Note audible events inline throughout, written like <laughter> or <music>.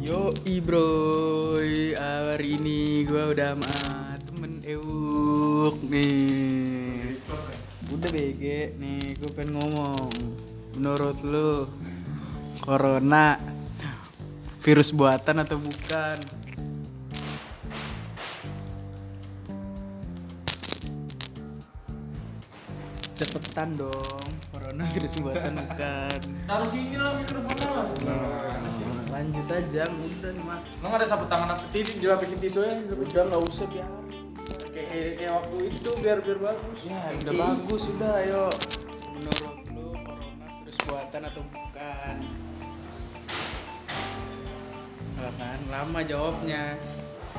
Yoi bro, hari ini gua udah sama temen Euk nih Udah BG nih, gue pengen ngomong Menurut lu, Corona virus buatan atau bukan? Cepetan dong, Corona virus buatan bukan Taruh sini lah mikrofonnya lah. Nah, Lanjut aja, udah nih mas Emang ada sapu tangan apa tidak dilapisin tisu ya? udah nggak usah biar kayak, kayak- kayak waktu itu biar biar bagus ya udah bagus sudah ayo menurut lu corona virus buatan atau bukan Nggak kan lama jawabnya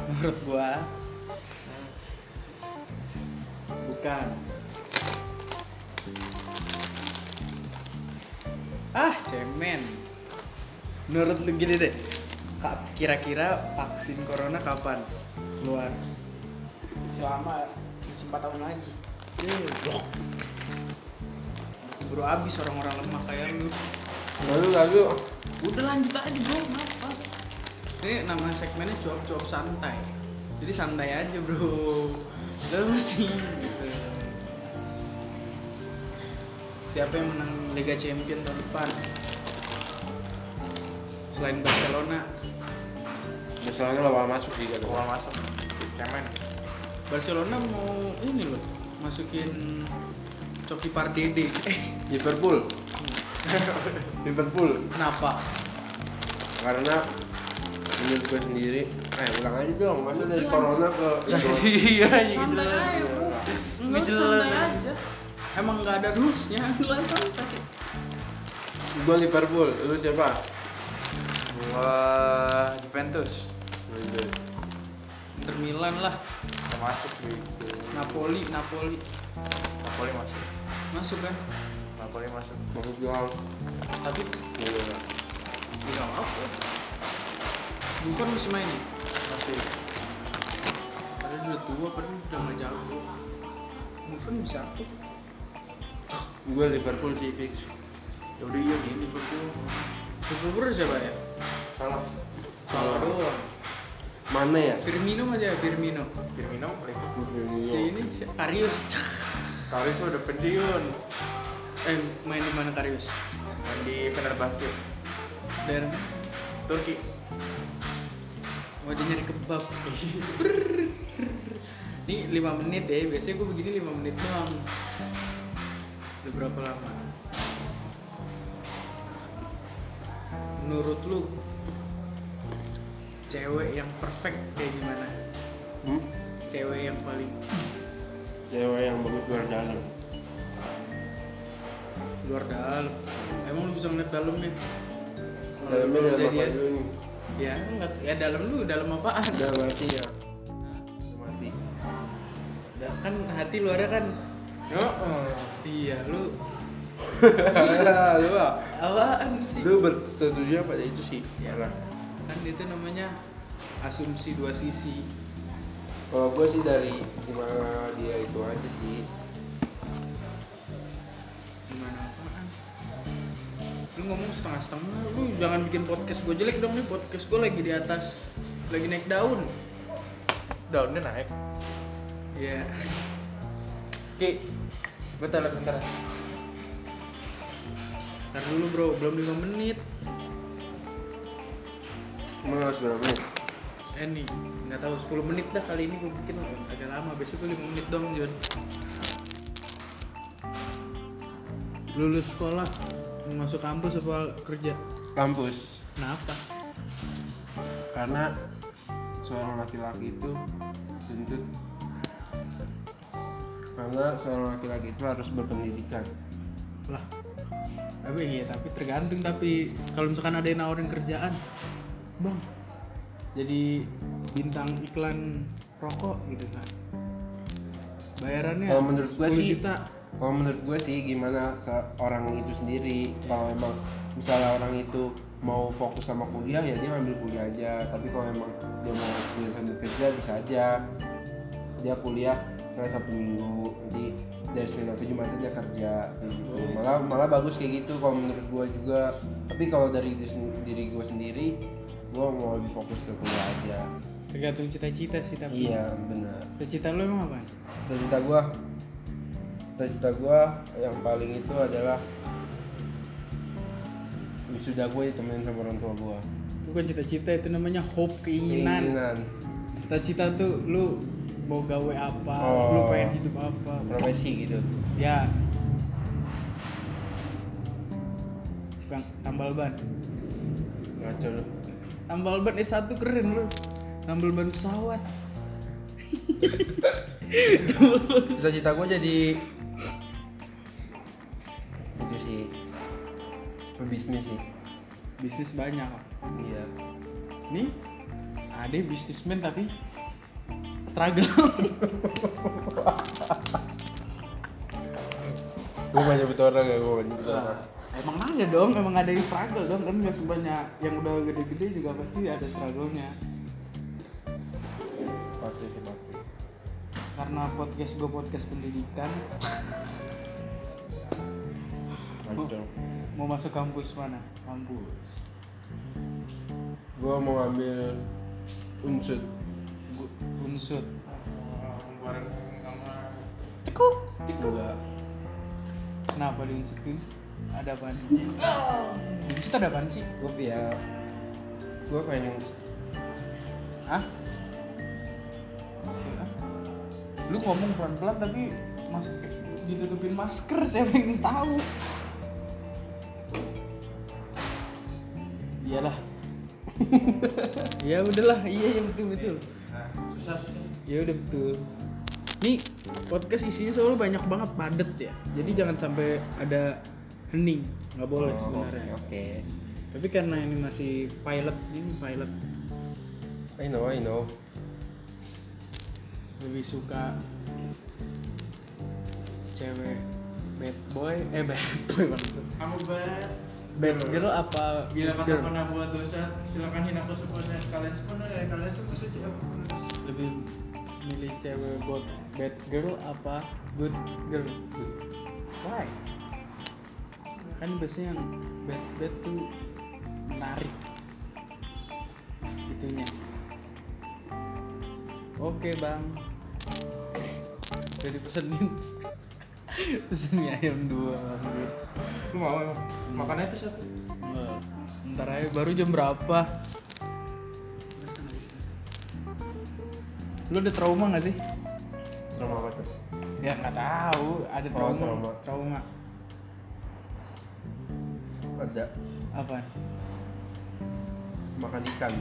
menurut gua bukan ah cemen menurut lu gini deh Kak, kira-kira vaksin corona kapan keluar selama masih 4 tahun lagi Bro abis orang-orang lemah kayak lu. Lalu lalu Udah lanjut aja bro, kenapa? Ini nama segmennya cuap-cuap santai. Jadi santai aja bro. Lalu masih gitu. Siapa yang menang Liga Champion tahun depan? Selain Barcelona, misalnya lawan masuk sih kan. Gua masuk. Cemen. Barcelona mau ini loh masukin Coki Pardede. Eh, <laughs> Liverpool. Liverpool kenapa? karena menurut gue sendiri eh ulang aja dong masa dari corona ke Iya, santai aja bro Nggak nggak jelas. santai aja emang nggak ada rulesnya <laughs> nggak santai gue Liverpool lu siapa Wah, Juventus. Inter Milan lah Kita masuk gitu. Napoli Napoli Napoli masuk. masuk kan Napoli masuk. maksud doang tapi nggak apa Bukan masih main nih Masih. padahal dia udah tua padahal udah nggak jago Bukan bisa aktif gue Liverpool sih fix Ya udah iya gini Liverpool. Liverpool siapa ya Salah. Salah doang mana ya Firmino aja ya Firmino Firmino Liverpool. Iya. si ini si Karius Karius udah pensiun. eh main di mana Karius Main di Fenerbahce. daerah Turki. Oh dia nyari kebab. Brrrr. Nih 5 menit ya, biasanya gue begini 5 menit doang. Udah berapa lama? Menurut lu cewek yang perfect kayak gimana? hmm? Cewek yang paling cewek yang bagus luar dalam Oh, luar dalam. Emang lu bisa ngeliat dalamnya? Kalau lu dalamnya dalam apa jadian- dulu nih Ya, enggak. Ya dalam lu dalam apaan? dalam hati ya Nah, mati kan hati luarnya kan Yo. Hmm. iya lu Iya. <laughs> lu ah. apaan sih? lu bertujuan pada itu sih Nah, karena kan itu namanya asumsi dua sisi kalau gue sih dari gimana dia itu aja sih gimana apaan lu ngomong setengah-setengah lu jangan bikin podcast gue jelek dong nih podcast gue lagi di atas lagi naik daun Daunnya naik. ya Ki. Gue telat bentar. ntar dulu bro belum lima menit Emang harus berapa menit? eh nih nggak tahu 10 menit dah kali ini gue bikin Oh, agak lama besok gue 5 menit dong Jon lulus sekolah masuk kampus apa kerja Kampus kenapa Karena seorang laki-laki itu tuntut Karena seorang laki-laki itu harus berpendidikan lah tapi iya tapi tergantung tapi kalau misalkan ada yang nawarin kerjaan bang jadi bintang iklan rokok gitu kan bayarannya Kalau menurut gua 10 sih- juta Kalau menurut gue sih gimana seorang itu sendiri Kalau emang misalnya orang itu mau fokus sama kuliah ya dia ngambil kuliah aja Tapi kalau emang dia mau kuliah sambil kerja bisa aja Dia kuliah kayak Sabtu Minggu Nanti dari Senin sampai Jumat aja kerja kayak gitu. Malah malah bagus kayak gitu kalau menurut gue juga Tapi kalau dari diri, diri gue sendiri gua mau lebih fokus ke kuliah aja tergantung cita-cita sih tapi iya benar cita-cita lu emang apa cita-cita gua cita-cita gua yang paling itu adalah wisuda gue ditemenin sama orang tua gua itu bukan cita-cita itu namanya hope keinginan cita-cita tuh lu mau gawe apa Oh. lu pengen hidup apa profesi gitu ya Bang, tambal ban ngaco lu tambal ban S1 keren lu tambal ban pesawat cita-cita gue jadi itu sih pebisnis sih bisnis banyak iya nih ada bisnismen tapi struggle gue gak nyebut orang ya gue gak nyebut orang emang ada dong emang ada yang struggle dong kan nggak sebanyak yang udah gede-gede juga pasti ada struggle-nya pasti sih pasti karena podcast gue podcast pendidikan ngaco mau masuk kampus mana kampus gue mau ngambil unsur Gu- unsur bareng sama cekuk enggak Kenapa di Unsut Unsut? Ada apa nih? Di Unsut ada apaan sih? gue ya gue pengen Hah? Siapa? Lu ngomong pelan-pelan tapi masker ditutupin masker <laughs> saya pengen tahu. <laughs> Iyalah. ya udahlah, iya yang betul betul. susah susah Ya udah betul. Nih podcast isinya soalnya banyak banget padet ya. Jadi jangan sampai ada hening, nggak boleh sebenarnya. Oh, oke Tapi karena ini masih pilot, ini pilot I know I know lebih suka cewek bad boy, eh bad <laughs> boy maksud. kamu banget Bad girl apa bila good kamu girl? pernah buat dosa silakan hina aku sepuasnya kalian semua dari kalian semua saja Lebih milih cewek buat bad girl apa good girl? Why? Kan biasanya yang bad bad tuh menarik itunya. Oke bang, jadi pesenin <laughs> pesen mie ayam dua. lu mau emang makannya itu satu Wah, Ntar aja baru jam berapa? Lu ada trauma gak sih? trauma apa tuh Ya nggak tahu, ada Oh, trauma. trauma. trauma. ada Apa? makan ikan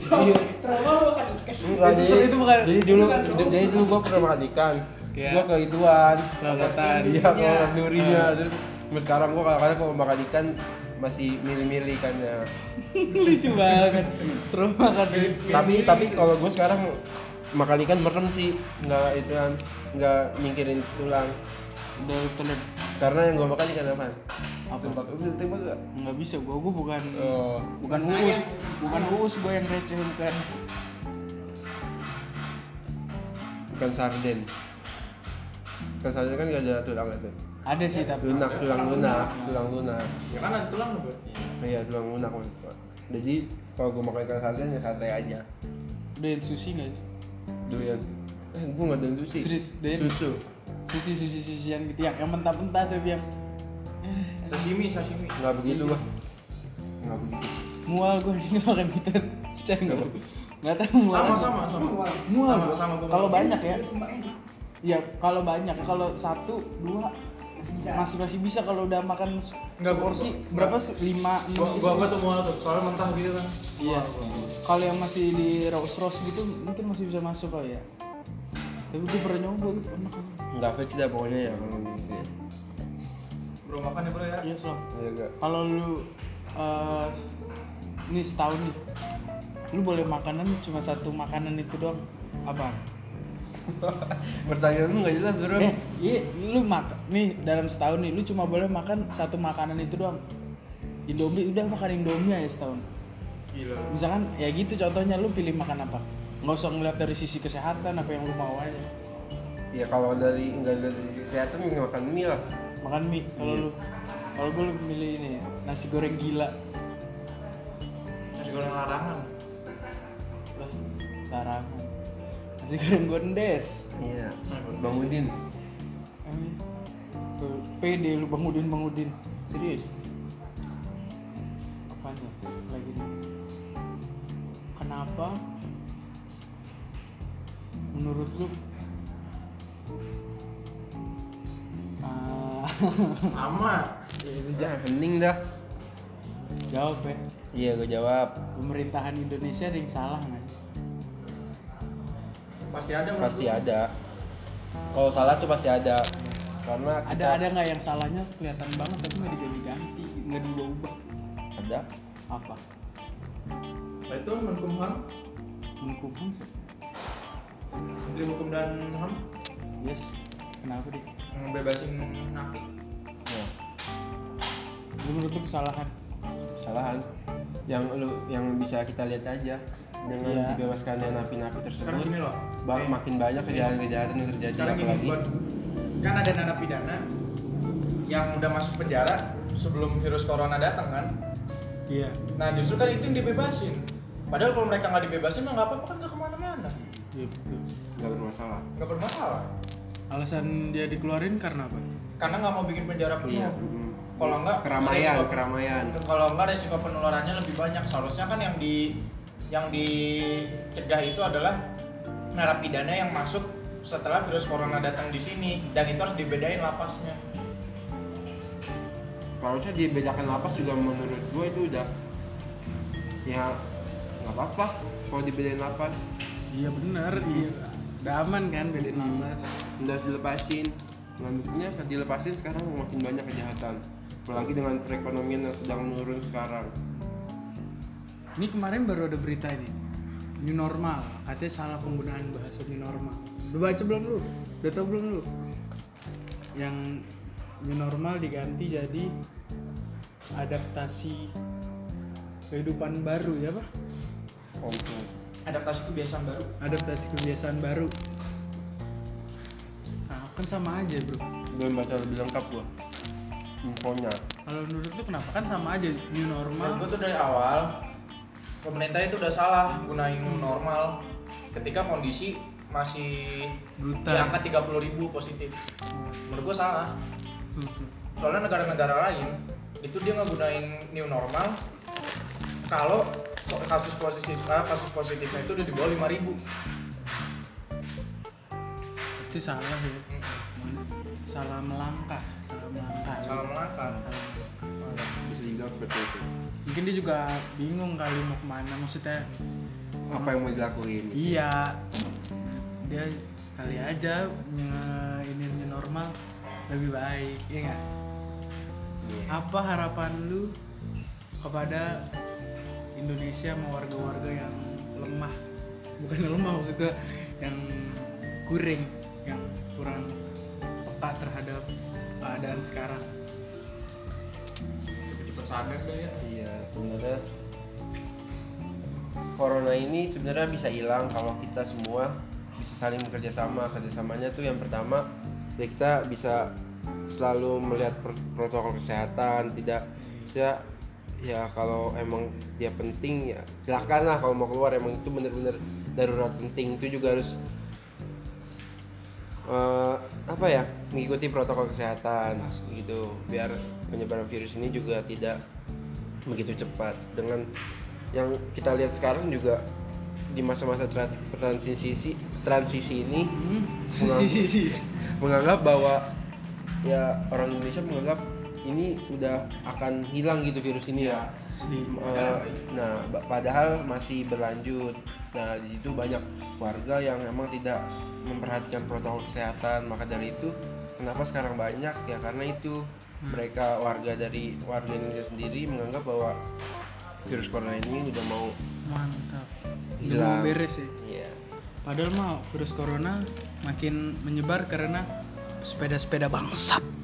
Trauma lu makan ikan. Enggak, Itu- jadi, itu bukan- jadi dulu itu bukan jadi dulu gua pernah makan ikan terus Iya. gua kehidupan Kelautan. iya Durinya. kalau durinya terus sampai sekarang gua kadang-kadang kalau makan ikan masih milih-milih ikannya <laughs> Lucu banget. Trauma kan. tapi tapi kalau gua sekarang makan ikan merem sih nggak itu kan nggak nyingkirin tulang Udah telat. karena yang gua makan ikan apa Apa? tembak itu tembak nggak? Nggak bisa, gua gua bukan oh bukan Bukan uus, ayam. bukan uus gua yang kan. receh bukan. bukan sarden bukan sarden kan nggak ada tulang itu Ada sih tapi. lunak tulang lunak tulang lunak ya kan ada tulang lu Iya, tulang lunak maksud gua. Jadi kalau gue makan ikan sarden ya santai aja. Doyan sushi nggak? sih? Doyan. Eh, gue nggak doyan sushi. Serius, doyan? Susu. Sushi sushi sushi yang gitu yang yang mentah-mentah tuh yang sashimi sashimi Nggak Iya, begitu gua. Nggak begitu. mual gua <laughs> ini makan gitu. Cengok. Nggak tahu mual. sama aja. sama sama Mual sama gua. sama gua. Kalau banyak ya. Itu sumpah enak. Iya, kalau banyak. Kalau satu, dua Masih bisa. masih masih bisa kalau udah makan se- Nggak, seporsi gua- berapa sih? Lima, enam. gua gua gua tuh mual tuh soalnya mentah gitu kan Iya. Kalau yang masih di roast roast gitu mungkin masih bisa masuk kali ya. Tapi gue pernah nyoba gitu enak. Nggak fix dah pokoknya ya kalau gitu. ya. bro makan ya bro ya Iya, Sob. Iya nggak? Kalau lu eh nih setahun nih, lu boleh makanan cuma satu makanan itu doang. Apa? Pertanyaan lu nggak jelas bro. Eh, iya, lu makan nih dalam setahun nih, lu cuma boleh makan satu makanan itu doang. Indomie udah makan Indomie aja setahun. gila misalkan ya gitu contohnya lu pilih makan apa nggak usah ngeliat dari sisi kesehatan apa yang lu mau aja Ya kalau dari nggak dari sisi kesehatan ya makan mie lah. ya, makan mie kalau lu kalau gue lebih milih ini nasi goreng gila goreng larangan Wah, larangan. Nasi goreng gondes. Iya. Nah, goreng. Bang Udin. Eh, tuh, PD lu Bang Udin, Bang Udin. Serius? Apanya? Lagi nih. Kenapa? Menurut lu Ah, <laughs> sama Udah hening dah. jawab ya Iya, gue jawab. pemerintahan Indonesia ada yang salah nggak sih? Pasti ada menurut Pasti lu. ada. Kalau salah tuh pasti ada. Karena ada kita- ada nggak yang salahnya kelihatan banget tapi nggak diganti-ganti nggak diubah Ada. apa Nah, itu Menkumham menghukum sih Menteri Hukum dan Ham yes kenapa deh ngebebasin napi Nah, Lu menurut lu kesalahan kesalahan yang lu yang bisa kita lihat aja dengan Iya. dibebaskannya napi-napi tersebut. sekarang gini loh Bang, Eh, makin banyak kejahatan-kejahatan yang terjadi sekarang gini apalagi buat kan ada narapidana yang udah masuk penjara sebelum virus corona datang kan iya nah justru kan itu yang dibebasin padahal kalau mereka nggak dibebasin mah nggak apa-apa kan nggak kemana-mana iya betul nggak bermasalah. nggak bermasalah alasan dia dikeluarin karena apa karena nggak mau bikin penjara penuh Iya. mm. Kalau nggak, keramaian, resiko- keramaian. kalau nggak resiko penularannya lebih banyak seharusnya kan yang di yang dicegah itu adalah narapidana yang masuk setelah virus corona datang di sini dan itu harus dibedain lapasnya Kalau saya dibedakan lapas juga menurut gue itu udah ya nggak apa-apa kalau dibedain lapas iya benar iya udah aman kan bedain lapas udah harus dilepasin Nah, maksudnya saat dilepasin sekarang makin banyak kejahatan apalagi dengan perekonomian yang sedang menurun sekarang ini kemarin baru ada berita ini new normal katanya salah penggunaan bahasa new normal udah baca belum lu udah tau belum lu yang new normal diganti jadi adaptasi kehidupan baru ya pak Oke. adaptasi kebiasaan baru adaptasi kebiasaan baru nah, kan sama aja bro belum baca lebih lengkap gue infonya kalau menurut lu kenapa kan sama aja new menurut normal gue tuh dari awal pemerintah itu udah salah gunain new normal ketika kondisi masih di brutal angka 30.000 positif menurut gue salah Tuh, tuh. soalnya negara-negara lain itu dia ngegunain new normal kalau ko- kasus positif ah, kasus positifnya itu udah di bawah 5000 itu salah ya Hmm, salah melangkah salah melangkah salah melangkah bisa dibilang seperti itu mungkin dia juga bingung kali mau kemana maksudnya apa yang mau dilakuin iya dia kali aja nye- ini new normal lebih baik ya nggak? Iya. apa harapan lu kepada Indonesia sama warga-warga yang lemah bukan yang lemah maksudnya yang kuring yang kurang peka terhadap keadaan sekarang cepet sadar deh ya Iya, sebenarnya corona ini sebenarnya bisa hilang kalau kita semua bisa saling bekerja sama. Kerjasamanya tuh yang pertama, ya kita bisa selalu melihat pr- protokol kesehatan, tidak bisa ya kalau emang dia penting ya silakan lah kalau mau keluar emang itu bener-bener darurat penting itu juga harus eh, apa ya mengikuti protokol kesehatan gitu biar penyebaran virus ini juga tidak begitu cepat dengan yang kita lihat sekarang juga di masa-masa tra- transisi transisi ini hmm? <laughs> Kurang. si si si menganggap bahwa ya orang Indonesia menganggap ini udah akan hilang gitu virus ini ya. Sedih. Eh, nah, ba- padahal masih berlanjut. Nah, di situ banyak warga yang emang tidak memperhatikan protokol kesehatan. Maka dari itu, kenapa sekarang banyak ya? Karena itu mereka warga dari warga Indonesia sendiri menganggap bahwa virus corona ini udah mau mantap udah mau hilang. beres ya Iya. Padahal mah virus corona makin menyebar karena sepeda-sepeda bangsat.